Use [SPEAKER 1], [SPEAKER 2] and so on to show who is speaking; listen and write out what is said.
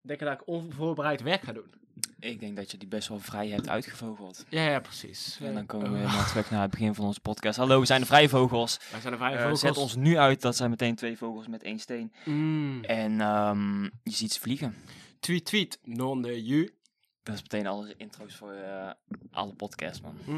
[SPEAKER 1] denken dat ik onvoorbereid werk ga doen.
[SPEAKER 2] Ik denk dat je die best wel vrij hebt uitgevogeld.
[SPEAKER 1] Ja, ja precies.
[SPEAKER 2] En dan komen we
[SPEAKER 1] Oh.
[SPEAKER 2] helemaal terug naar het begin van onze podcast. Hallo, we zijn de Vrijvogels.
[SPEAKER 1] Wij zijn er vijf
[SPEAKER 2] Eh,
[SPEAKER 1] vogels.
[SPEAKER 2] zet ons nu uit, dat zijn meteen twee vogels met één steen.
[SPEAKER 1] Mm.
[SPEAKER 2] En ehm, je ziet ze vliegen.
[SPEAKER 1] Tweet, tweet. Non de ju.
[SPEAKER 2] Dat is meteen alle intro's voor eh, alle podcasts, man.